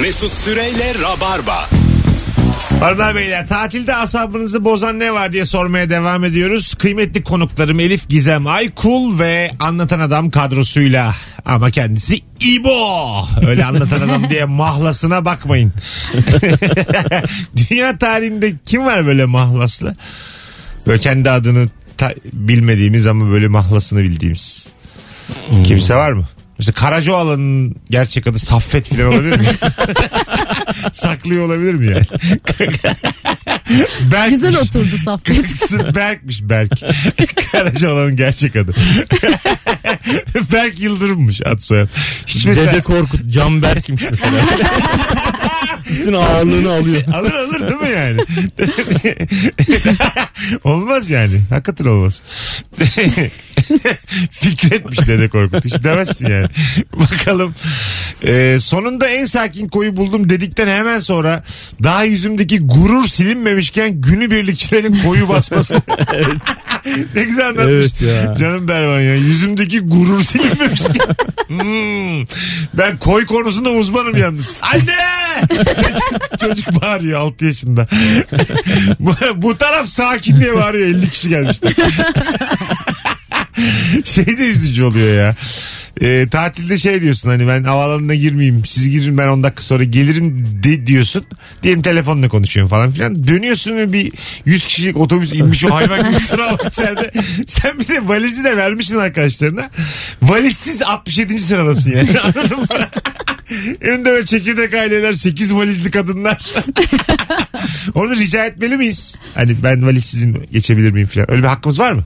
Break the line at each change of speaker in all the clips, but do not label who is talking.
Mesut Süreyle Rabarba.
Hanımlar beyler tatilde asabınızı bozan ne var diye sormaya devam ediyoruz. Kıymetli konuklarım Elif Gizem Aykul ve Anlatan Adam kadrosuyla ama kendisi İbo. Öyle anlatan adam diye mahlasına bakmayın. Dünya tarihinde kim var böyle mahlaslı? Böyle kendi adını ta- bilmediğimiz ama böyle mahlasını bildiğimiz. Kimse var mı? Mesela Karacaoğlan'ın gerçek adı Saffet falan olabilir mi? Saklıyor olabilir mi yani? Berkmiş.
Güzel oturdu Saffet.
Berk'miş Berk. Karacaoğlan'ın gerçek adı. Berk Yıldırım'mış ad soyad. Hiç mesela...
Dede Korkut, Canberk'miş mesela. Bütün ağırlığını alıyor.
Alır alır değil mi yani? olmaz yani. Hakikaten olmaz. Fikretmiş Dede Korkut. Hiç demezsin yani. Bakalım. Ee, sonunda en sakin koyu buldum dedikten hemen sonra daha yüzümdeki gurur silinmemişken günü birlikçilerin koyu basması. ne güzel anlatmış.
Evet ya.
Canım Bervan ya. Yüzümdeki gurur silinmemişken. Hmm. Ben koy konusunda uzmanım yalnız. Anne! Çocuk bağırıyor 6 yaşında. bu, bu taraf sakin diye bağırıyor 50 kişi gelmişti. şey de üzücü oluyor ya. Ee, tatilde şey diyorsun hani ben havaalanına girmeyeyim siz girin ben 10 dakika sonra gelirim de diyorsun. Diyelim telefonla konuşuyorum falan filan. Dönüyorsun ve bir 100 kişilik otobüs inmiş o hayvan gibi sıra var içeride. Sen bir de valizi de vermişsin arkadaşlarına. Valizsiz 67. sıradasın yani anladın mı? Önünde böyle çekirdek aileler, 8 valizli kadınlar. Orada rica etmeli miyiz? Hani ben valizsizim geçebilir miyim falan. Öyle bir hakkımız var mı?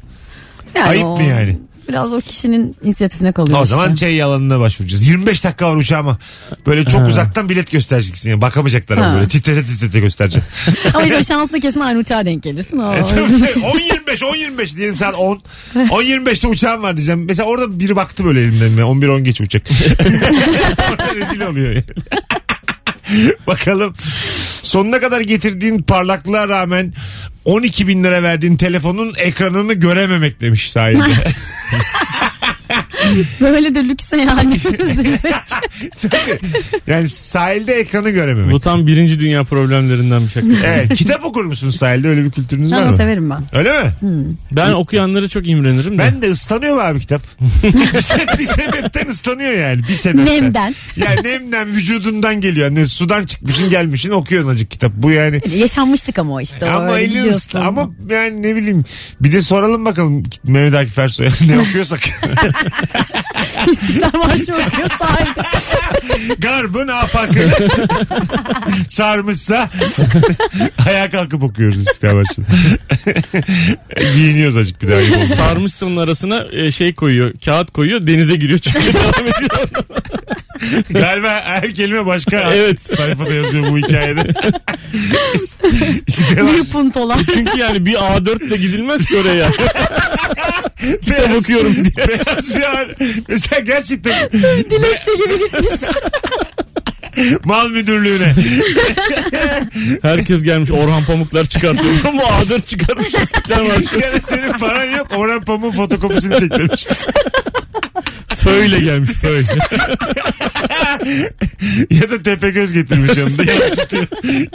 Yani
Ayıp
o-
mı yani?
Biraz o kişinin inisiyatifine kalıyor
o
işte.
zaman şey yalanına başvuracağız. 25 dakika var uçağıma. Böyle çok uzaktan bilet göstereceksin. Yani. Bakamayacaklar ama
Ha.
böyle titrete titrete göstereceksin.
Ama işte şanslı kesin aynı uçağa denk gelirsin. O-
E tabii, 10-25 10-25 diyelim saat 10. 10-25'te uçağım var diyeceğim. Mesela orada biri baktı böyle elimden. 11-10 geç uçak. orada rezil oluyor. yani. Bakalım sonuna kadar getirdiğin parlaklığa rağmen 12 bin lira verdiğin telefonun ekranını görememek demiş sahibi.
Böyle de lükse yani.
Tabii. yani sahilde ekranı görememek.
Bu tam birinci dünya problemlerinden bir şaka.
Evet, kitap okur musunuz sahilde öyle bir kültürünüz var
Ama
mı?
severim ben.
Öyle mi?
Ben okuyanlara çok imrenirim de.
Ben de ıslanıyor mu abi kitap? bir sebepten ıslanıyor yani. Bir sebepten.
Nemden.
Yani nemden vücudundan geliyor. Yani sudan çıkmışın gelmişin okuyorsun acık kitap. Bu yani.
Yaşanmıştık ama işte. o
Ama
öyle
elin
gidiyorsun.
ısla- ama yani ne bileyim bir de soralım bakalım Mehmet Akif Ersoy'a ne okuyorsak.
İstiklal Marşı okuyor sahilde.
Garbın afakı sarmışsa ayağa kalkıp okuyoruz istiklal Marşı'nı. Giyiniyoruz acık bir daha. ayıp olmasın.
Sarmışsının arasına e, şey koyuyor, kağıt koyuyor, denize giriyor çıkıyor devam ediyor.
Galiba her kelime başka
Evet.
sayfada yazıyor bu hikayede. İstiklal
Bir puntolar.
Çünkü yani bir A4 ile gidilmez ki oraya.
Beyaz-
okuyorum diye.
Beyaz bir ağır. Mesela gerçekten
Dilekçe gibi gitmiş.
mal müdürlüğüne.
Herkes gelmiş Orhan Pamuklar çıkartıyor. Bu A4 çıkarmış istiklal var.
Yani senin paran yok. Orhan Pamuk'un fotokopisini çektirmiş.
Föyle gelmiş föyle.
ya da Tepegöz getirmiş yanında. Yansıtıyor.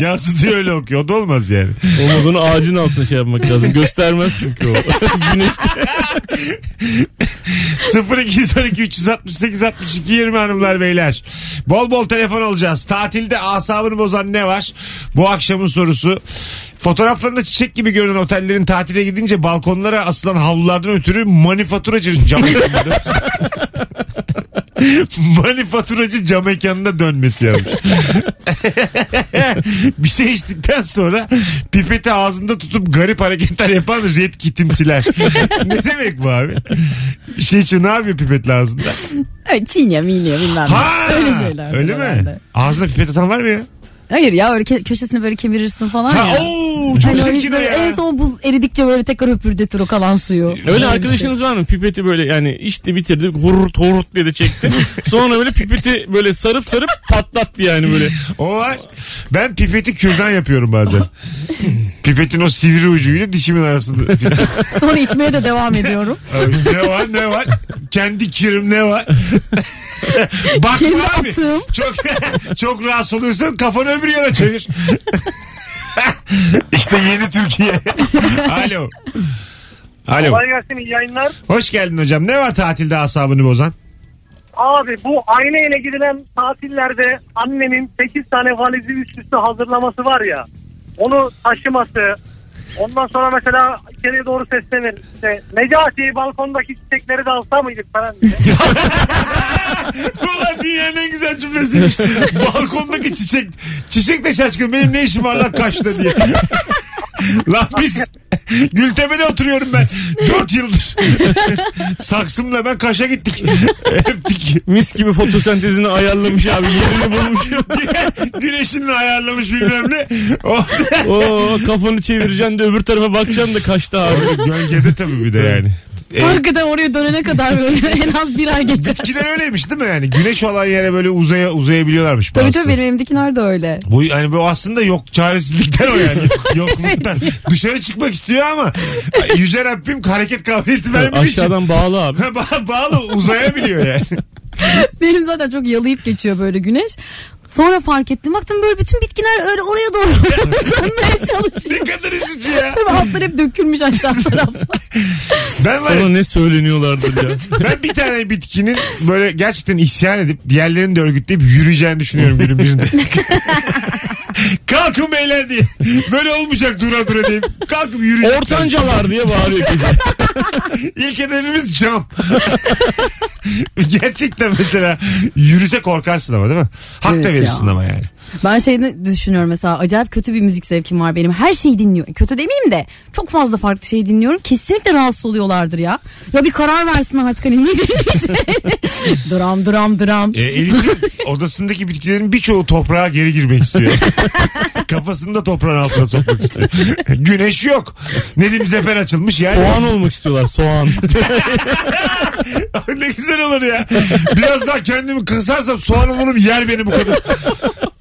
Yansıtıyor öyle okuyor. O da olmaz yani.
Omuzunu ağacın altına şey yapmak lazım. Göstermez çünkü o. Güneşte.
0212 368 62 20 hanımlar beyler. Bol bol telefon alacağız. Tatilde asabını bozan ne var? Bu akşamın sorusu. Fotoğraflarında çiçek gibi görünen otellerin tatile gidince balkonlara asılan havlulardan ötürü manifaturacı cam mekanına dönmesi. manifaturacı cam mekanına dönmesi yapmış. bir şey içtikten sonra pipeti ağzında tutup garip hareketler yapan red kitimsiler. ne demek bu abi? Bir şey için ne yapıyor pipet ağzında?
Evet, Çiğniyor, miniyor bilmem
Ha!
ne. Öyle şeyler.
Öyle mi? Ağzında pipet atan var mı ya?
Hayır ya öyle ke- köşesini böyle kemirirsin falan
Ha,
ya.
ooo, çok
Hani öyle
şekilde
böyle
ya.
En son buz eridikçe böyle tekrar höpürdetir o kalan suyu.
Öyle
bir
arkadaşınız var mı? Pipeti böyle yani içti bitirdi. Hururt hururt dedi çekti. Sonra böyle pipeti böyle sarıp sarıp patlattı yani böyle.
O var. Ben pipeti kürdan yapıyorum bazen. Pipetin o sivri ucuyla dişimin arasında.
şey. Sonra içmeye de devam ediyorum.
Abi ne var ne var? Kendi kirim ne var? Bakma
Kendi
abi.
atığım.
Çok, çok rahatsız oluyorsan kafanı öbür yana çevir. işte yeni Türkiye. Alo. Alo.
Kolay gelsin iyi yayınlar.
Hoş geldin hocam. Ne var tatilde asabını bozan?
Abi bu aileyle gidilen tatillerde annenin 8 tane valizi üst üste hazırlaması var ya. Onu taşıması. Ondan sonra mesela içeriye doğru seslenir. İşte, Necati balkondaki çiçekleri de alsa mıydık falan diye.
Ulan dünyanın en güzel cümlesiymiş. Balkondaki çiçek. Çiçek de şaşkın. Benim ne işim var lan kaçta diye. lan biz Gültepe'de oturuyorum ben. Dört yıldır. Saksımla ben Kaş'a gittik. Öptük.
Mis gibi fotosentezini ayarlamış abi yerini bulmuş.
Güneşini ayarlamış bilmem ne. O
Oo kafanı çevireceksin de öbür tarafa bakacaksın da kaçtı abi.
gölgede tabii bir de yani. E,
Hakikaten oraya dönene kadar böyle en az bir ay geçer.
Bitkiler öyleymiş değil mi yani? Güneş olan yere böyle uzaya uzayabiliyorlarmış.
Tabii
bazısı.
tabii benim evimdekiler de öyle.
Bu yani bu aslında yok çaresizlikten o yani. Yok- Yokluktan. Dışarı çıkmak istiyor ama yüce Rabbim hareket kabiliyeti vermediği için.
Aşağıdan bağlı abi.
Ba- bağlı uzayabiliyor yani.
Benim zaten çok yalayıp geçiyor böyle güneş. Sonra fark ettim baktım böyle bütün bitkiler öyle oraya doğru sönmeye
ne
çalışıyor.
kadar üzücü ya.
Tabii altlar hep dökülmüş aşağı tarafa.
Ben var ya,
Sana ne söyleniyorlardır ya.
ben bir tane bitkinin böyle gerçekten isyan edip diğerlerini de örgütleyip yürüyeceğini düşünüyorum günün birinde. Kalkın beyler diye. Böyle olmayacak dura dura diye. Kalkıp yürüyeceğim.
Ortancalar diye bağırıyor kız.
İlk hedefimiz cam. Gerçekten mesela yürüse korkarsın ama değil mi? Hak da
Evet
verirsin
ya.
ama yani.
Ben şeyini düşünüyorum mesela acayip kötü bir müzik zevkim var benim. Her şeyi dinliyorum. Kötü demeyeyim de çok fazla farklı şey dinliyorum. Kesinlikle rahatsız oluyorlardır ya. Ya bir karar versin artık hani ne dinleyeceğini. dram dram dram.
E, Elif'in odasındaki bitkilerin birçoğu toprağa geri girmek istiyor. Kafasını da toprağın altına sokmak istiyor. Güneş yok. Nedim Zefer açılmış yani.
Soğan olmak istiyorlar soğan.
ne güzel olur ya. Biraz daha kendimi kısarsam soğan olurum yer beni bu kadar.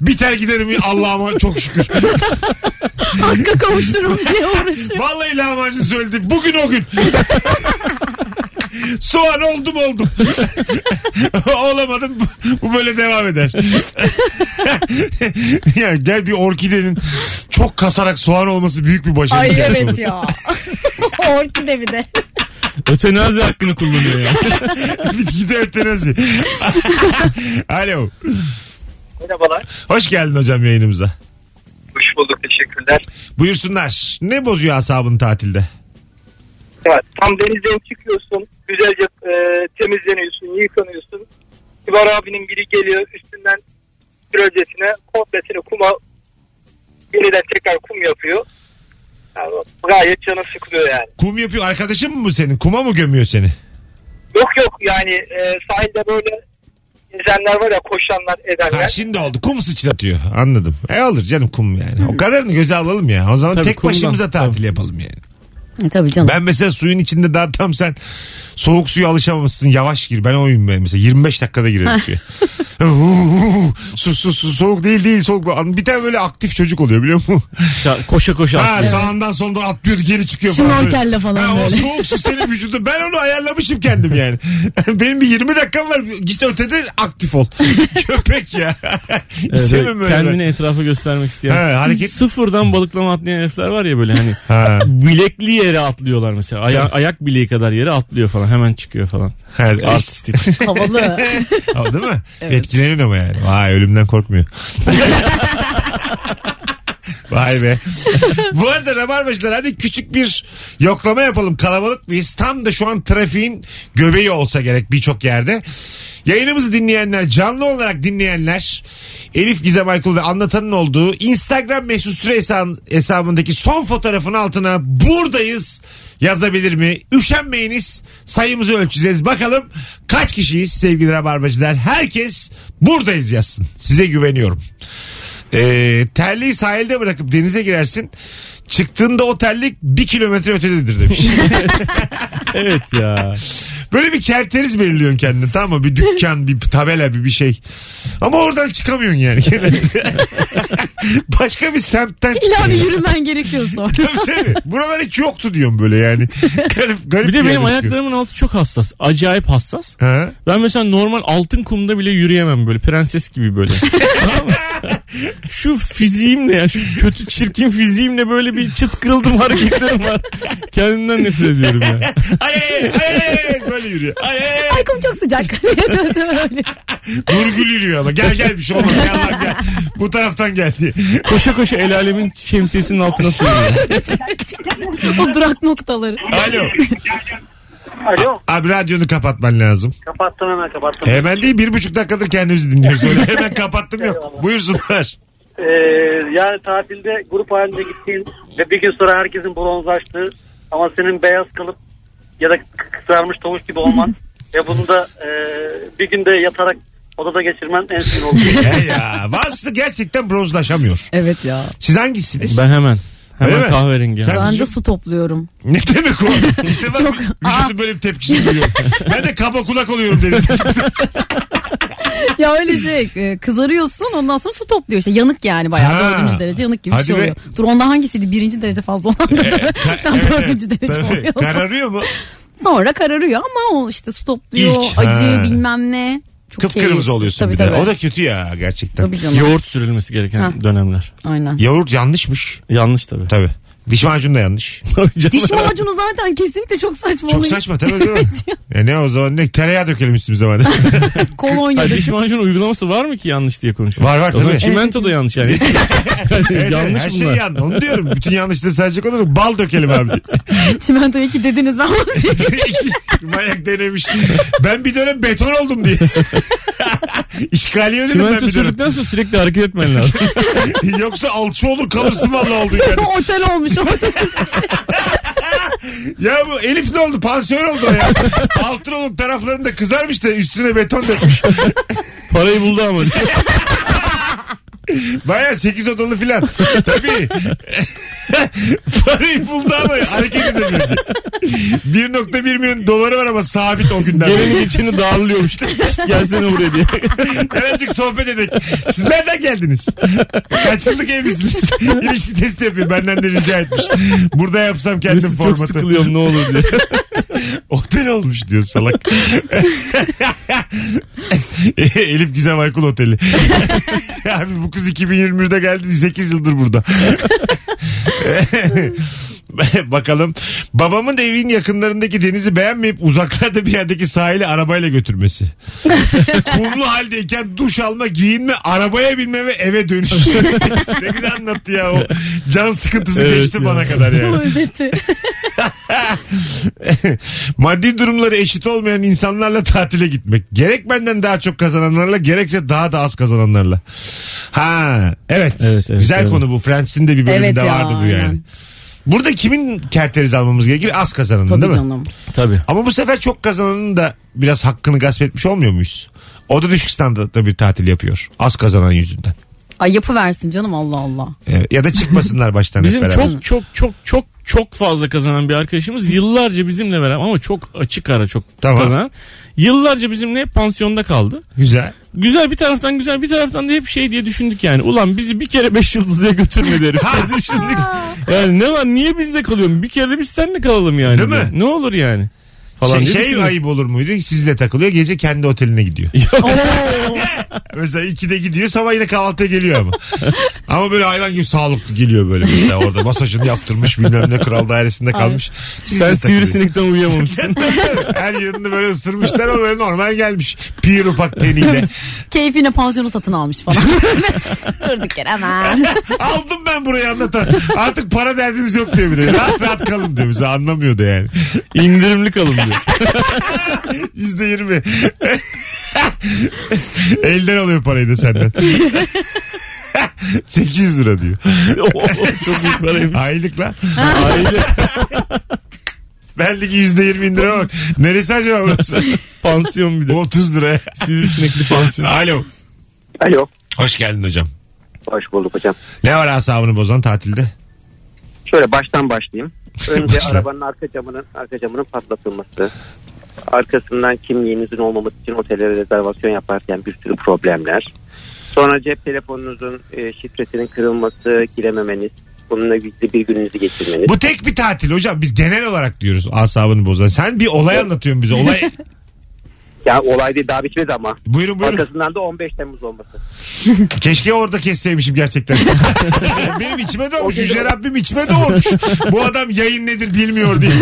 Biter giderim Allah'ıma çok şükür.
Hakka kavuşurum diye uğraşıyorum.
Vallahi lahmacun söyledi. Bugün o gün. Soğan oldum oldum. Olamadım. Bu böyle devam eder. ya gel bir orkidenin çok kasarak soğan olması büyük bir başarı.
Ay
hikayesi
evet
olur.
ya. Orkide bir de.
Ötenazi hakkını kullanıyor ya.
Bitkide ötenazi. Alo.
Merhabalar.
Hoş geldin hocam yayınımıza.
Hoş bulduk teşekkürler.
Buyursunlar. Ne bozuyor asabını tatilde?
Evet, tam denizden çıkıyorsun. Güzelce e, temizleniyorsun, yıkanıyorsun. Kibar abinin biri geliyor üstünden projesine komplesini kuma yeniden tekrar kum yapıyor. Yani gayet canı sıkılıyor yani.
Kum yapıyor. Arkadaşın mı bu senin? Kuma mı gömüyor seni?
Yok yok yani e, sahilde böyle gezenler var ya koşanlar
Ha
edenler.
şimdi oldu. Kum sıçratıyor. Anladım. E olur canım kum yani. O kadarını göze alalım ya. O zaman
Tabii,
tek
kumdan.
başımıza tatil yapalım yani.
E, tabii canım.
Ben mesela suyun içinde daha tam sen soğuk suya alışamamışsın. Yavaş gir. Ben oyum ben mesela. 25 dakikada girerim suya. su, su, su, soğuk değil değil soğuk. Bir tane böyle aktif çocuk oluyor biliyor musun?
Şa- koşa koşa.
Ha,
atlıyor.
sağından solundan atlıyor geri çıkıyor
Şnorkelle falan
Ha, O
böyle.
soğuk su senin vücudu. Ben onu ayarlamışım kendim yani. Benim bir 20 dakikam var. Git ötede aktif ol. Köpek ya.
Evet,
İstemem öyle. ben.
kendini etrafa göstermek isteyen.
He, hareket-
Sıfırdan balıklama atlayan herifler var ya böyle hani.
Ha,
bilekli yere atlıyorlar mesela. Aya- ayak bileği kadar yere atlıyor falan. Hemen çıkıyor falan.
ha,
Artistik.
Havalı.
Ama değil mi?
Evet.
Etkileniyor ama yani. Vay ölümden korkmuyor. Vay be. Bu arada Rabarbacılar hadi küçük bir yoklama yapalım. Kalabalık mıyız? Tam da şu an trafiğin göbeği olsa gerek birçok yerde. Yayınımızı dinleyenler, canlı olarak dinleyenler Elif Gizem Aykul ve Anlatan'ın olduğu Instagram mesut süre hesa- hesabındaki son fotoğrafın altına buradayız yazabilir mi? Üşenmeyiniz sayımızı ölçeceğiz. Bakalım kaç kişiyiz sevgili Rabarbacılar. Herkes buradayız yazsın. Size güveniyorum. Ee, terliği sahilde bırakıp denize girersin. Çıktığında o terlik bir kilometre ötededir demiş.
evet ya.
Böyle bir kerteriz belirliyorsun kendine tamam mı? Bir dükkan, bir tabela, bir bir şey. Ama oradan çıkamıyorsun yani. Başka bir semtten
İlla bir
çıkıyor.
yürümen gerekiyor sonra.
Tabii tabii. Buralar hiç yoktu diyorum böyle yani. Garip, garip
Bir de
yerden
benim
çıkıyor.
ayaklarımın altı çok hassas. Acayip hassas.
Ha?
Ben mesela normal altın kumda bile yürüyemem böyle. Prenses gibi böyle. Tamam mı? şu fiziğimle ya şu kötü çirkin fiziğimle böyle bir çıt kırıldım hareketlerim var. Kendimden nefret ediyorum ya.
Ay ay ay, ay böyle yürüyor. Ay ay ay.
Ay kum çok sıcak. Evet, öyle.
Nurgül yürüyor ama gel gel bir şey olmaz. Gel lan gel. Bu taraftan geldi.
Koşa koşa el alemin şemsiyesinin altına sığınıyorum.
o durak noktaları.
Alo.
Alo.
Abi radyonu kapatman lazım.
Kapattım hemen kapattım.
Hemen değil bir buçuk dakikadır kendimizi dinliyoruz. Öyle hemen kapattım yok. Buyursunlar.
Ee, yani tatilde grup halinde gittiğin ve bir gün sonra herkesin bronzlaştığı ama senin beyaz kalıp ya da k- kızarmış tavuk gibi olman ve bunu da e, bir günde yatarak odada geçirmen en sinir oluyor.
He ya. Bazısı gerçekten bronzlaşamıyor.
Evet ya.
Siz hangisiniz?
Ben hemen.
Öyle mi?
Hemen kahverengi.
Sen-
Ben de su topluyorum.
Ne demek o? İşte bak
Çok-
vücudun böyle bir tepkisini duyuyorum. ben de kaba kulak oluyorum dedi.
ya öyle şey e, kızarıyorsun ondan sonra su topluyor işte yanık yani bayağı
Ha.
dördüncü derece yanık gibi bir
Hadi
şey
be. E,
oluyor. Dur onda hangisiydi birinci derece fazla olan da tam dördüncü derece oluyor.
Kararıyor mu?
Sonra kararıyor ama o işte su topluyor
İlk,
acı
ha.
bilmem ne. Çok keyifsiz.
Kıpkırmızı oluyorsun
tabii,
bir de.
Tabii.
O da kötü ya gerçekten.
Tabii canım.
Yoğurt sürülmesi gereken
Ha.
dönemler.
Aynen.
Yoğurt yanlışmış.
Yanlış tabii.
Tabii. Diş macunu da yanlış.
Diş macunu zaten kesinlikle çok saçma.
Çok
oluyor.
saçma tabii değil mi? e ne o zaman ne? Tereyağı dökelim üstümüze bana.
Kolonya.
Ha,
döküyor.
diş macunu uygulaması var mı ki yanlış diye konuşuyor?
Var, var
O zaman
tabii.
çimento da yanlış yani. Yani yanlış
Her şey
bunlar.
yan. Onu diyorum. Bütün yanlışları sadece olarak bal dökelim abi.
Çimentoya ki dediniz ben bunu diye.
Manyak denemiş. Ben bir dönem beton oldum diye. İşgaliye ödedim ben
Çimento
bir dönem.
sürdükten sonra sürekli hareket etmen lazım.
Yoksa alçı olur kalırsın vallahi oldu yani.
otel olmuş otel.
Ya bu Elif ne oldu? Pansiyon oldu o ya. Altın oluk taraflarında kızarmış da üstüne beton dökmüş.
Parayı buldu ama.
Baya 8 odalı filan. Tabii. Parayı buldu ama hareket edemedi. 1.1 milyon doları var ama sabit o günden. beri.
Gelenin içini darlıyormuş. Şşt, Gelsene buraya diye.
Hemencik sohbet edek. Siz nereden geldiniz? Kaç yıllık evlisiniz? İlişki testi yapıyor. Benden de rica etmiş. Burada yapsam kendim
Mesut çok
formatı.
sıkılıyorum ne olur diye.
Otel olmuş diyor salak. Elif Gizem Aykul Oteli. Abi bu kız 2021'de geldi 8 yıldır burada. Bakalım. Babamın evin yakınlarındaki denizi beğenmeyip uzaklarda bir yerdeki sahile arabayla götürmesi. Kumlu haldeyken duş alma, giyinme, arabaya binme ve eve dönüş. ne güzel anlattı ya o. Can sıkıntısı
Evet
geçti
ya.
bana kadar yani.
özeti.
Maddi durumları eşit olmayan insanlarla tatile gitmek. Gerek benden daha çok kazananlarla gerekse daha da az kazananlarla. Ha evet.
Evet, evet,
Güzel
öyle.
konu bu. Friends'in de bir bölümünde
Evet ya,
vardı bu yani.
aynen.
Burada kimin kerteriz almamız gerekir? Az kazananın
Tabii
değil mi?
canım.
Tabii.
Ama bu sefer çok kazananın da biraz hakkını gasp etmiş olmuyor muyuz? O da düşük standartta bir tatil yapıyor. Az kazanan yüzünden.
Ay yapı versin canım Allah Allah.
Ee, ya da çıkmasınlar baştan hep
Bizim
beraber.
çok çok çok çok çok fazla kazanan bir arkadaşımız yıllarca bizimle beraber ama çok açık ara çok
Tamam.
kazanan. Yıllarca bizimle hep pansiyonda kaldı.
Güzel.
Güzel bir taraftan güzel bir taraftan da hep şey diye düşündük yani. Ulan bizi bir kere beş yıldızlıya götürmedi herif. diye düşündük. Yani ne var niye bizde kalıyorsun? Bir kere de biz seninle kalalım yani.
Değil mi?
Ne olur yani. Falan
şey
diye
şey
düşündük.
ayıp olur muydu? Sizle takılıyor gece kendi oteline gidiyor.
Yok.
Mesela 2'de gidiyor sabah yine kahvaltıya geliyor ama. ama böyle hayvan gibi sağlıklı geliyor böyle mesela orada masajını yaptırmış bilmem ne kral dairesinde kalmış. Siz
Sen
de takılıyor.
sivrisinekten uyuyamamışsın.
Her yerinde böyle ısırmışlar ama böyle normal gelmiş. Pier ufak teniyle.
Keyfine pansiyonu satın almış falan. Durduk yere hemen.
Aldım ben burayı anlatan. Artık para derdiniz yok diyor bir de. Rahat rahat kalın diyor bize anlamıyor da yani.
İndirimli kalın diyor.
Yüzde yirmi. Elden alıyor parayı da senden. 800 lira diyor.
Oo, Çok büyük paraymış.
Aylık lan.
Aile
Bendeki yüzde yirmi indire bak. Neresi acaba burası?
pansiyon bir de.
30 lira.
Sivrisinekli pansiyon.
Alo.
Alo.
Hoş geldin hocam.
Hoş bulduk hocam.
Ne var asabını bozan tatilde?
Şöyle baştan başlayayım. Önce
Başla.
arabanın arka camının arka camının patlatılması. Arkasından kimliğinizin olmaması için otellere rezervasyon yaparken bir sürü problemler.
Sonra cep telefonunuzun e, şifresinin kırılması, girememeniz, bununla birlikte bir gününüzü geçirmeniz.
Bu tek bir tatil hocam. Biz genel olarak diyoruz asabını bozan. Sen bir olay anlatıyorsun bize. Olay...
Ya olay değil daha bitmedi ama.
buyurun buyurun.
Arkasından da 15 Temmuz olması.
Keşke orada kesseymişim gerçekten. Benim içime doğmuş. Yüce Rabbim içime doğmuş. Bu adam yayın nedir bilmiyor diye.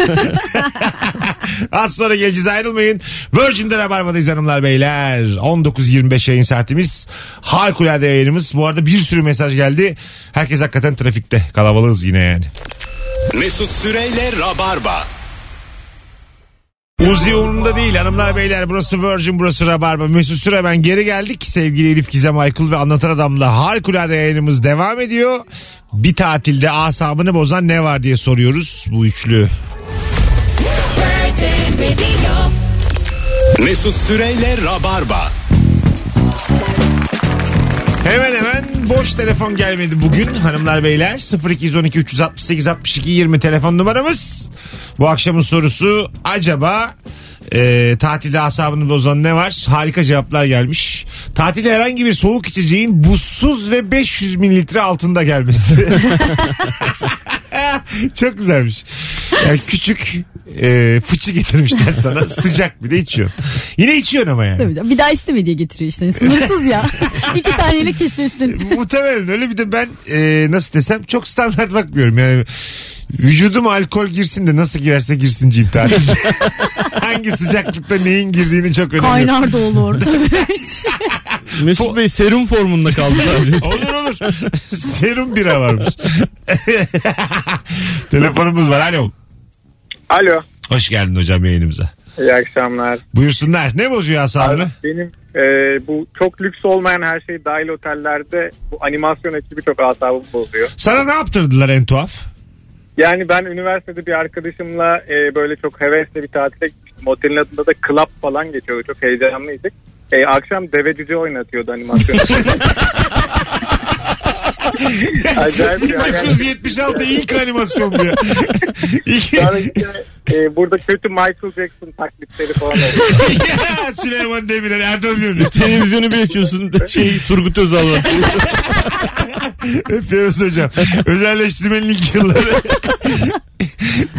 Az sonra geleceğiz ayrılmayın. Virgin'de Rabarba'dayız hanımlar beyler. 19.25 yayın saatimiz. Harikulade yayınımız. Bu arada bir sürü mesaj geldi. Herkes hakikaten trafikte. Kalabalığız yine yani.
Mesut Süreyle Rabarba.
Uzi umurumda değil hanımlar beyler burası Virgin burası Rabarba Mesut Süre ben geri geldik sevgili Elif Gizem Aykul ve Anlatan Adam'la harikulade yayınımız devam ediyor. Bir tatilde asabını bozan ne var diye soruyoruz bu üçlü.
Mesut Süreyle Rabarba.
Hemen hemen boş telefon gelmedi bugün hanımlar beyler 0212 368 62 20 telefon numaramız. Bu akşamın sorusu acaba e, tatilde asabını bozan ne var? Harika cevaplar gelmiş. Tatilde herhangi bir soğuk içeceğin buzsuz ve 500 mililitre altında gelmesi. Çok güzelmiş. Yani küçük e, fıçı getirmişler sana sıcak bir de içiyorsun. Yine içiyorsun ama yani.
Tabii canım. Bir daha isteme diye getiriyor işte. Hani Sınırsız ya. İki taneyle kesilsin.
Muhtemelen öyle bir de ben e, nasıl desem çok standart bakmıyorum yani vücudum alkol girsin de nasıl girerse girsinciyim tatilde. Hangi sıcaklıkta neyin girdiğini çok önemli. yok.
Kaynar da olur.
Mesut Bey serum formunda kaldı sadece.
Olur olur. Serum bira varmış. Telefonumuz var. Alo.
Alo.
Hoş geldin hocam yayınımıza.
İyi akşamlar.
Buyursunlar. Ne bozuyor asabını?
Benim e, bu çok lüks olmayan her şey dahil otellerde bu animasyon ekibi çok asabımı bozuyor.
Sana ne yaptırdılar en tuhaf?
Yani ben üniversitede bir arkadaşımla e, böyle çok hevesle bir tatile gitmiştim. Otelin adında da club falan geçiyordu. Çok heyecanlıydık. E, akşam deve cüce oynatıyordu animasyon. Acayip bir hayal.
1976 ilk animasyon bu ya. İlk-
Sonra işte, e, burada kötü Michael Jackson taklitleri falan oldu.
Ya Süleyman Demirel Erdoğan diyorum.
Televizyonu bir açıyorsun şey Turgut Özal var.
Öpüyoruz hocam. Özelleştirmenin ilk yılları.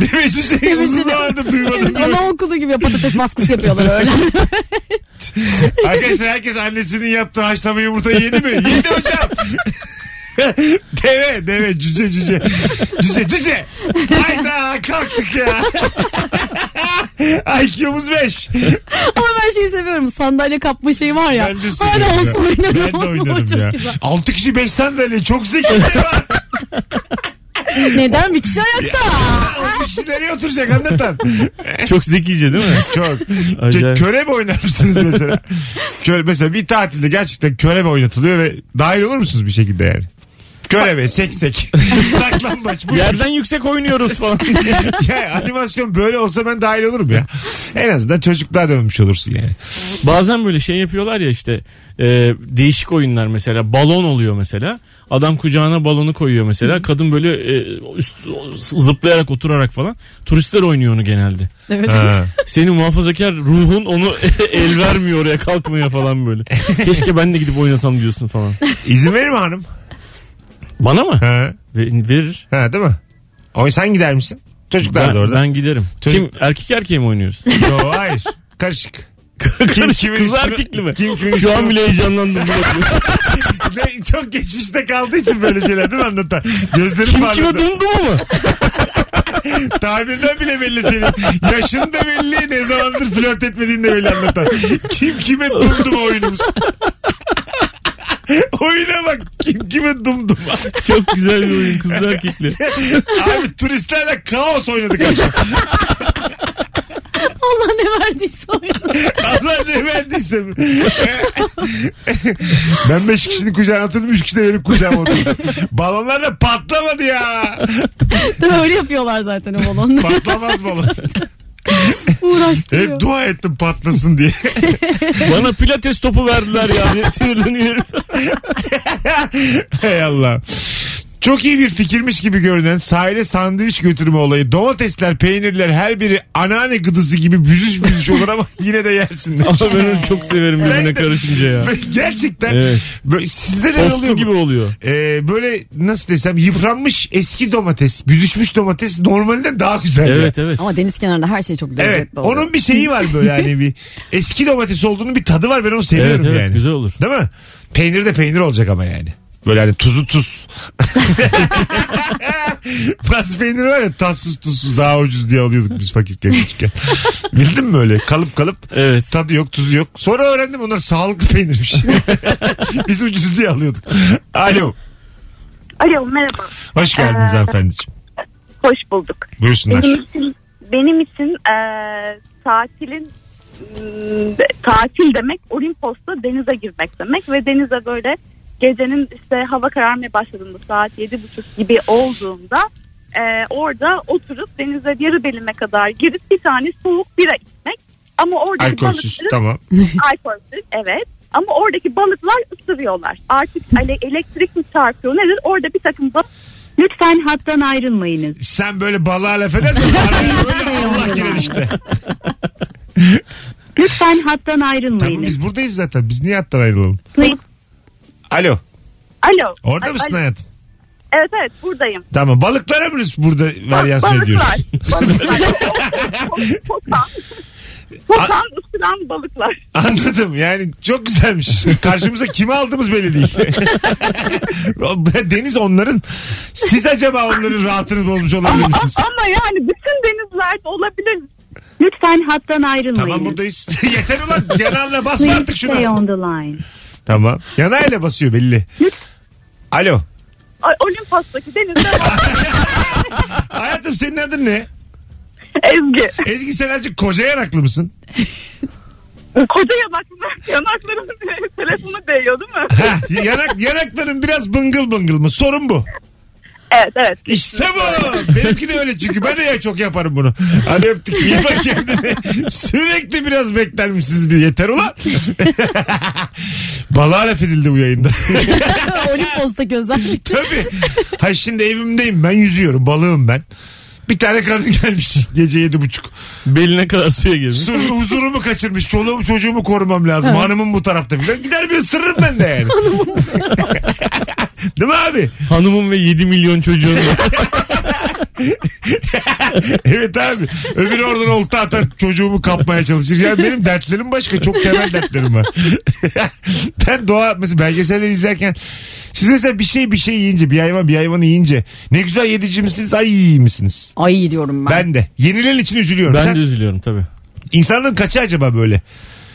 Demek şu şeyi şey uzun zamandır duymadım. değil mi?
Ana okulu gibi patates baskısı yapıyorlar öyle.
Arkadaşlar herkes annesinin yaptığı haşlama yumurtayı yedi mi? Yedi hocam. deve deve cüce cüce cüce cüce hayda kalktık ya IQ'muz 5
Ama ben şeyi seviyorum. Sandalye kapma şeyi var ya.
ben de
Hala
seviyorum
olsa
ya.
oynarım.
ben de oynadım
Çok
ya
güzel.
6 kişi 5 sandalye çok zeki var
Neden bir kişi ayakta?
O kişi nereye oturacak anlatan
Çok zekice değil mi?
Çok.
Acayip.
Köre mi oynar mısınız mesela? köre, mesela bir tatilde gerçekten köre mi oynatılıyor ve dahil olur musunuz bir şekilde yani? Köre be seksek. Saklambaç. Bu
Yerden yüksek oynuyoruz falan.
ya, animasyon böyle olsa ben dahil olurum ya. En azından çocukluğa dönmüş olursun yani.
Bazen böyle şey yapıyorlar ya işte e, değişik oyunlar mesela balon oluyor mesela. Adam kucağına balonu koyuyor mesela. Kadın böyle e, üst, zıplayarak oturarak falan. Turistler oynuyor onu genelde.
Evet.
Ha.
Senin muhafazakar ruhun onu el vermiyor oraya kalkmaya falan böyle. Keşke ben de gidip oynasam diyorsun falan.
İzin verir mi hanım?
Bana mı?
Ha.
Ve- Verir.
ha değil mi? O sen gider misin? Çocuklar
Ben,
da orada.
ben giderim.
Çocuk-
Kim erkek erkeğe mi oynuyoruz?
Yo, hayır. Karışık. Kim kimin
Kız
üstüne-
erkekli mi?
Kim kimin
Şu
üstüne-
an bile heyecanlandım.
Ne- Çok geçmişte kaldığı için böyle şeyler değil mi anlatan? Gözlerim
Kim
parladı.
kime dumdu mu?
Tabirden bile belli senin. Yaşın da belli. Ne zamandır flört etmediğin de belli anlatan. Kim kime dumdum oyunumuz. Oyuna bak. Kim kime dumdum.
Çok güzel bir oyun kızlı erkekli.
Abi turistlerle kaos oynadık akşam.
Allah ne verdiyse oyunu.
Allah ne verdiyse. ben beş kişinin kucağına oturdum. Üç kişi de benim kucağıma oturdu. Balonlar da patlamadı ya.
Değil mi? Öyle yapıyorlar zaten o balonları.
Patlamaz balon. Hep
Uğraştırıyor.
dua ettim patlasın diye.
Bana pilates topu verdiler yani sinirleniyorum.
Hey Allah. Çok iyi bir fikirmiş gibi görünen sahile sandviç götürme olayı. Domatesler, peynirler her biri anneanne gıdısı gibi büzüş büzüş olur ama yine de yersinler.
Ama ben onu çok severim birbirine karışınca ya.
Ve Gerçekten
Evet.
böyle- sizde de oluyor
Soslu
mu?
gibi oluyor.
Ee, böyle nasıl desem yıpranmış eski domates, büzüşmüş domates normalden daha güzel. ya.
Evet evet.
Ama deniz kenarında her şey çok lezzetli
Evet.
oluyor.
Onun bir şeyi var böyle hani bir eski domates olduğunun bir tadı var ben onu
Evet
seviyorum
evet
yani.
güzel olur.
Değil mi? Peynir de peynir olacak ama yani. Böyle hani tuzu tuz. Pas peynir var ya tatsız tuzsuz daha ucuz diye alıyorduk biz fakirken küçükken. Bildin mi öyle kalıp kalıp
Evet.
tadı yok tuzu yok. Sonra öğrendim onlar sağlıklı peynirmiş. biz ucuz diye alıyorduk. Alo.
Alo merhaba. Ee,
Hoş geldiniz hanımefendiciğim.
Hoş bulduk.
Buyursunlar.
Benim için, benim için e, tatilin m, tatil demek Olimpos'ta denize girmek demek ve denize böyle gecenin işte hava kararmaya başladığında saat yedi buçuk gibi olduğunda e, orada oturup denize yarı belime kadar girip bir tane soğuk bira içmek ama oradaki
Alkolsüz
balıkların-
tamam.
alkolsüz evet. Ama oradaki balıklar ısırıyorlar. Artık ele- elektrik mi çarpıyor nedir? Orada bir takım balık
Lütfen hattan ayrılmayınız.
Sen böyle balığa laf edersen araya böyle Allah girer işte.
Lütfen hattan
Tamam
ayrılmayınız.
biz buradayız zaten. Biz niye hattan ayrılalım?
Please.
Alo.
Alo.
Orada
Alo,
mısın
alo.
hayatım?
Evet evet buradayım.
Tamam. Balıklara mı burada varyans
Balıklar.
ediyoruz?
Balıklar. Potan. Potan ısıran balıklar.
Anladım. Yani çok güzelmiş. Karşımıza kimi aldığımız belli değil. Deniz onların. Siz acaba onların rahatını bozmuş olabilir
Ama,
misiniz?
ama yani bütün denizlerde olabilir.
Lütfen hattan ayrılmayınız.
Tamam buradayız. Yeter ulan. Yanarla basma
Please
artık
stay
şunu.
on the line.
Tamam. Yanayla basıyor belli. Alo.
Ay, Olimpos'taki denizde var.
Hayatım senin adın ne?
Ezgi.
Ezgi sen azıcık koca yanaklı mısın?
Koca yanaklı, yanaklarımın telefonu değiyor değil mi?
Ha, yanak, yanakların biraz bıngıl bıngıl mı? Sorun bu.
evet evet.
İşte bu. Benimki de öyle çünkü ben de ya çok yaparım bunu. Hadi öptük iyi bak kendine. Sürekli biraz beklermişsiniz bir yeter ulan. Balığa laf edildi bu yayında.
Olimpos'taki özellikle.
Tabii. Ha şimdi evimdeyim ben yüzüyorum balığım ben. Bir tane kadın gelmiş gece yedi buçuk.
Beline kadar suya girmiş.
Sur, huzurumu kaçırmış. Çoluğumu çocuğumu korumam lazım. Hanımım bu tarafta filan. Gider bir ısırırım ben de yani. Hanımım Değil mi abi?
Hanımın ve 7 milyon çocuğun var.
Evet abi. Öbürü oradan olta atar çocuğumu kapmaya çalışır. Yani benim dertlerim başka. Çok temel dertlerim var. ben doğa mesela belgeselleri izlerken siz mesela bir şey bir şey yiyince bir hayvan bir hayvanı yiyince ne güzel yedici misiniz ay iyi misiniz?
Ay diyorum ben.
Ben de. Yenilen için üzülüyorum.
Ben
Sen,
de üzülüyorum tabii.
insanların kaçı acaba böyle?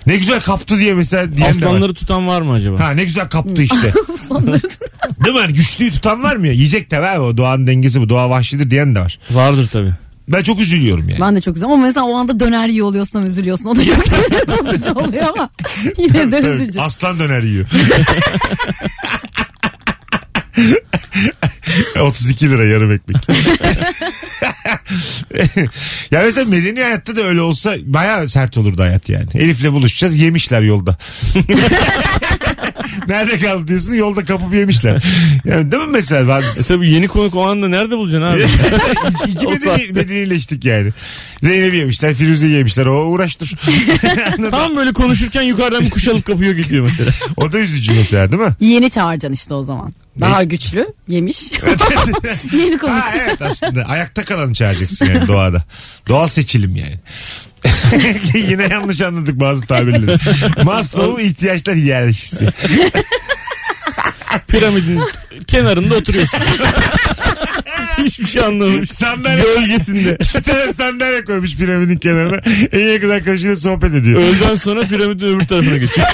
Ne güzel kaptı diye mesela diyen de var.
Aslanları tutan var mı acaba?
Ha ne güzel kaptı işte. Değil mi? Yani güçlüyü tutan var mı ya? Yiyecek de var o doğanın dengesi bu. Doğa vahşidir diyen de var.
Vardır tabii.
Ben çok üzülüyorum yani.
Ben de çok üzüldüm ama mesela o anda döner yiyor oluyorsun ama üzülüyorsun. O da çok sinir bozucu oluyor ama yine de
Tabii,
üzücü.
aslan döner yiyor. 32 lira yarım ekmek. ya mesela medeni hayatta da öyle olsa bayağı sert olurdu hayat yani. Elif'le buluşacağız yemişler yolda. Nerede kaldı diyorsun yolda kapıp yemişler. Yani değil mi mesela ben
E tabii yeni konuk o anda nerede bulacaksın abi?
İki- İki
O
medeni,
saatte.
medenileştik yani. Zeynep'i yemişler, Firuze'yi yemişler. O uğraş dur.
Tam böyle konuşurken yukarıdan bir kuş alıp kapıyor gidiyor mesela.
o da üzücü mesela değil mi?
Yeni çağıracaksın işte o zaman. Daha
Ne?
güçlü yemiş. Yeni konuk.
Ha evet aslında ayakta kalanı çağıracaksın yani doğada. Doğal seçilim yani. Yine yanlış anladık bazı tabirleri. Maslow'un ihtiyaçlar hiyerarşisi.
Piramidin kenarında oturuyorsun. Hiçbir şey anlamamış.
Sandalye,
Gölgesinde.
iki tane sandalye koymuş piramidin kenarına. En yakın arkadaşıyla sohbet ediyor.
Öğleden sonra piramidin öbür tarafına geçiyor.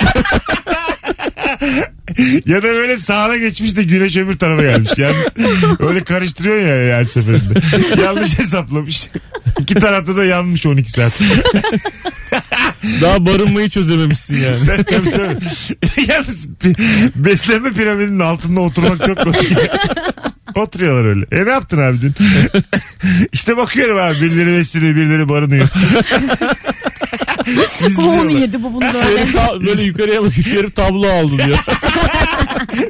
ya da böyle sahana geçmiş de güneş öbür tarafa gelmiş. Yani öyle karıştırıyor ya her seferinde. Yanlış hesaplamış. İki tarafta da yanmış 12 saat.
Daha barınmayı çözememişsin yani.
tabii tabii. Yalnız bi- beslenme piramidinin altında oturmak çok kolay. Oturuyorlar öyle. E ne yaptın abi dün? işte bakıyorum abi birileri besleniyor birileri barınıyor.
O onu
İzliyorlar.
yedi bu bunu böyle.
Herif ta- böyle yukarıya bakıyor. Şu herif tablo aldı diyor.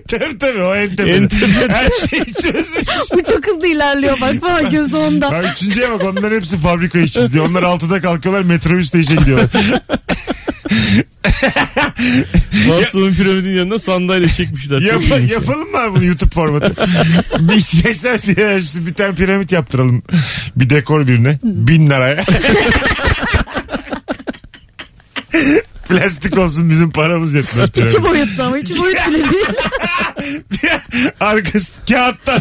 tabii tabii o en tepede.
En tepede.
Her şeyi çözmüş.
Bu çok hızlı ilerliyor bak falan gözü onda.
Abi üçüncüye bak onların hepsi fabrika işçisi diyor. Onlar altıda kalkıyorlar metrobüsle işe gidiyorlar.
Maslow'un piramidin yanına sandalye çekmişler. Çok
Yap-
iyiymiş ya.
yapalım mı abi bunu YouTube formatı? bir ihtiyaçlar piramidisi bir tane piramit yaptıralım. Bir dekor birine. Bin liraya. Plastik olsun bizim paramız yetmez piramit.
İki boyutlu ama iki boyut bile değil.
Arkası kağıttan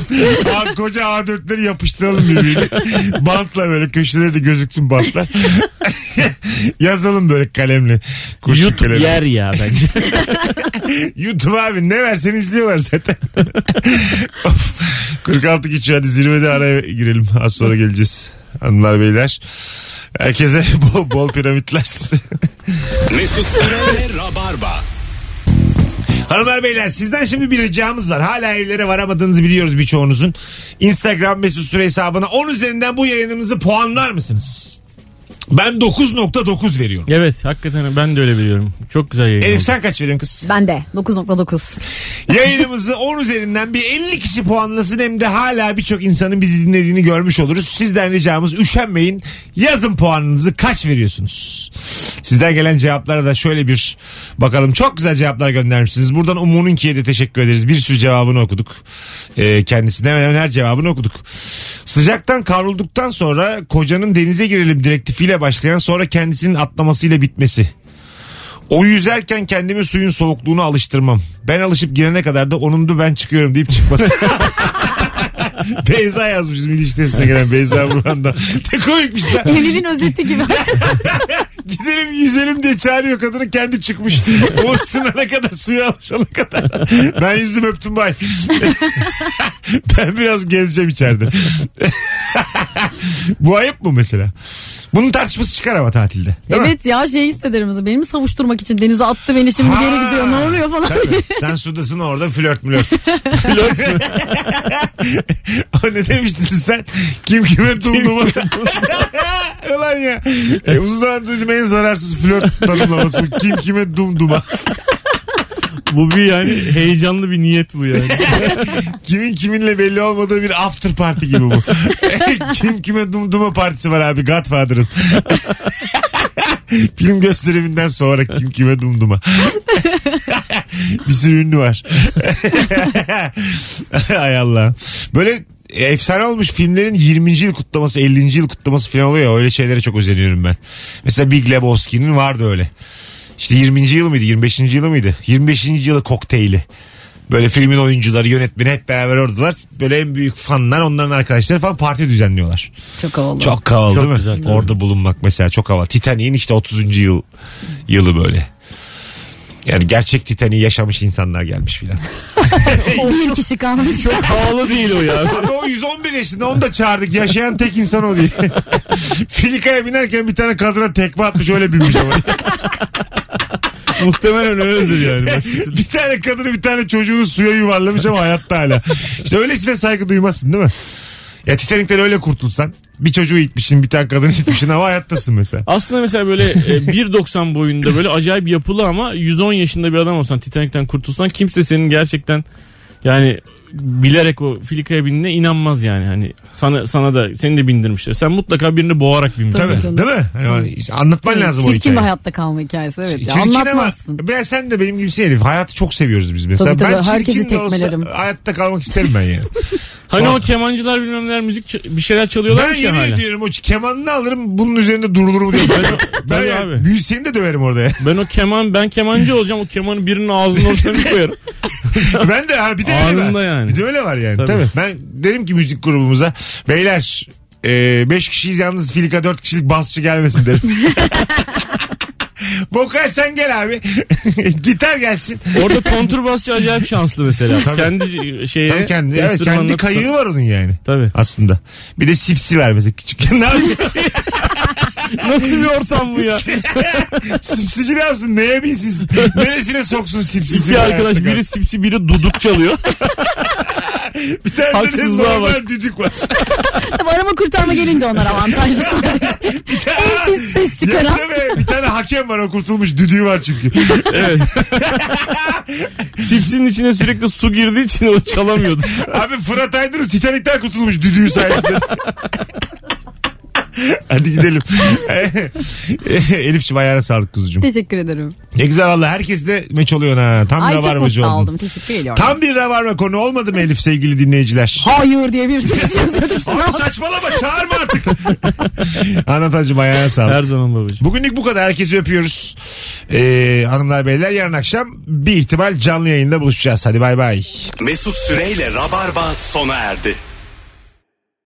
A- koca A4'leri yapıştıralım birbirine. Bantla böyle köşede de gözüksün bantlar. Yazalım böyle kalemle. Kurşun
YouTube
kalemle.
yer ya bence.
YouTube abi ne versen izliyorlar zaten. Of. 46 geçiyor hadi zirvede araya girelim. Az sonra geleceğiz. Hanımlar beyler. Herkese bol bol piramitler.
Mesut Süreyle Rabarba.
Hanımlar beyler sizden şimdi bir ricamız var. Hala evlere varamadığınızı biliyoruz birçoğunuzun. Instagram mesut süre hesabına 10 üzerinden bu yayınımızı puanlar mısınız? Ben 9.9 veriyorum.
evet hakikaten ben de öyle biliyorum. Çok güzel yayın
Elif
oldu.
sen kaç veriyorsun kız?
Ben de 9.9.
Yayınımızı 10 üzerinden bir 50 kişi puanlasın hem de hala birçok insanın bizi dinlediğini görmüş oluruz. Sizden ricamız üşenmeyin. Yazın puanınızı kaç veriyorsunuz? Sizden gelen cevaplara da şöyle bir bakalım. Çok güzel cevaplar göndermişsiniz. Buradan Umu'nunkiye de teşekkür ederiz. Bir sürü cevabını okuduk. Ee, kendisine hemen hemen her cevabını okuduk. Sıcaktan kavrulduktan sonra kocanın denize girelim direktifiyle başlayan sonra kendisinin atlamasıyla bitmesi. O yüzerken kendimi suyun soğukluğuna alıştırmam. Ben alışıp girene kadar da onundu ben çıkıyorum deyip çıkması. Beyza yazmışız milli İş testine gelen Beyza Burhan'da. Ne komikmiş lan.
Evliliğin özeti gibi.
Gidelim yüzelim diye çağırıyor kadını kendi çıkmış. O sınana kadar suya alışana kadar. Ben yüzdüm öptüm bay. ben biraz gezeceğim içeride. Bu ayıp mı mesela? Bunun tartışması çıkar ama tatilde. Değil mi?
evet ya şey hissederim. Beni mi savuşturmak için denize attı beni şimdi
Ha.
geri gidiyor ne oluyor falan.
Tabii. Sen sudasın orada flört mülört. flört mü? o ne demiştin sen? Kim kime dumduma. Ulan ya. E, uzun zaman duydum en zararsız flört tanımlaması. bu. Kim kime dumduma.
Bu bir yani heyecanlı bir niyet bu yani.
Kimin kiminle belli olmadığı bir after party gibi bu. Kim kime dumduma partisi var abi Godfather'ın. Film gösteriminden sonra kim kime dumduma. bir sürü ünlü var. Ay Allah. Böyle efsane olmuş filmlerin 20. yıl kutlaması 50. yıl kutlaması falan oluyor ya öyle şeylere çok özeniyorum ben. Mesela Big Lebowski'nin vardı öyle. İşte 20. yıl mıydı 25. yılı mıydı? 25. yılı kokteyli. Böyle filmin oyuncuları, yönetmeni hep beraber oradalar. Böyle en büyük fanlar onların arkadaşları falan parti düzenliyorlar.
Çok havalı.
Çok havalı
Çok
değil mi?
güzel, tabii.
Orada bulunmak mesela çok havalı. Titanic'in işte 30. yıl yılı böyle. Yani gerçek Titanic'i yaşamış insanlar gelmiş filan.
Bir kişi kalmış.
Çok havalı değil o ya.
Abi o 111 yaşında onu da çağırdık. Yaşayan tek insan o diye. Filikaya binerken bir tane kadına tekme atmış öyle binmiş ama.
Muhtemelen öyledir yani. Başka türlü-
bir tane kadını bir tane çocuğunu suya yuvarlamış ama hayatta hala. İşte öylesine saygı duymazsın değil mi? Ya Titanic'ten öyle kurtulsan. Bir çocuğu itmişsin bir tane kadını itmişsin ama hayattasın mesela.
Aslında mesela böyle e, 1.90 boyunda böyle acayip yapılı ama 110 yaşında bir adam olsan Titanic'ten kurtulsan kimse senin gerçekten yani bilerek o filikaya bindiğine inanmaz yani. Hani sana sana da seni de bindirmişler. Sen mutlaka birini boğarak binmişsin.
Tabii,
canım.
değil mi? Hani o- işte anlatman lazım o
Çirkin bir
hikayeyi.
hayatta kalma hikayesi evet. Ya,
Çirkin
anlatmazsın.
ama ben sen de benim gibisin Elif. Hayatı çok seviyoruz biz mesela.
Tabii, tabii.
Ben
Herkesi
çirkin de olsa
tekmelerim.
hayatta kalmak isterim ben yani.
Hani o kemancılar bilmem neler müzik ç- bir şeyler
ben
çalıyorlar ya
yemin
hala.
ediyorum o kemanını alırım bunun üzerinde durulurum diye. ben, ben
tabii
yani,
abi.
müzisyeni de döverim orada ya.
Ben o keman ben kemancı olacağım. O kemanı birinin ağzının ortasına bir koyarım.
ben de ha bir de öyle
Anında
var.
yani.
Bir de öyle var yani. Tabii.
Tabii.
Ben derim ki müzik grubumuza beyler 5 kişiyiz yalnız filika 4 kişilik basçı gelmesin derim. Vokal sen gel abi. Gitar gelsin.
Orada kontrbasçı acayip şanslı mesela.
Tabii.
Kendi şeye
Tabii kendi, evet,
enstrümanına
kendi
tutan-
kayığı var onun yani.
Tabii.
Aslında. Bir de sipsi vermesi küçük. ne yapacağız?
Nasıl bir ortam bu ya?
Sipsici ne yapsın? Neye binsin? Neresine soksun sipsisi?
İki arkadaş biri sipsi biri duduk çalıyor.
Bir tane
Haksızlığa
de normal
bak.
düdük var.
Tabii arama kurtarma gelince onlar avantajlı sadece. en tiz ses çıkaran.
Yoksa be, bir tane hakem var o kurtulmuş düdüğü var çünkü.
Sipsinin içine sürekli su girdiği için o çalamıyordu.
Abi Fırat Aydınus Titanik'ten kurtulmuş düdüğü sayesinde. Hadi gidelim. Elif'ciğim ayağına sağlık kuzucuğum.
Teşekkür ederim.
Ne güzel valla herkes de meç oluyor ha. Tam
Ay
bir
çok
rabarbacı
mutlu
oldun.
oldum. Teşekkür ediyorum.
Tam bir rabarba konu olmadı mı Elif sevgili dinleyiciler?
Hayır diye bir sürü şey yazıyordum. Şimdi
Ama saçmalama çağırma artık. Anlatacığım ayağına sağlık.
Her zaman babacığım.
Bugünlük bu kadar. Herkesi öpüyoruz. Ee, hanımlar beyler yarın akşam bir ihtimal canlı yayında buluşacağız. Hadi bay bay.
Mesut Süreyle Rabarba sona erdi.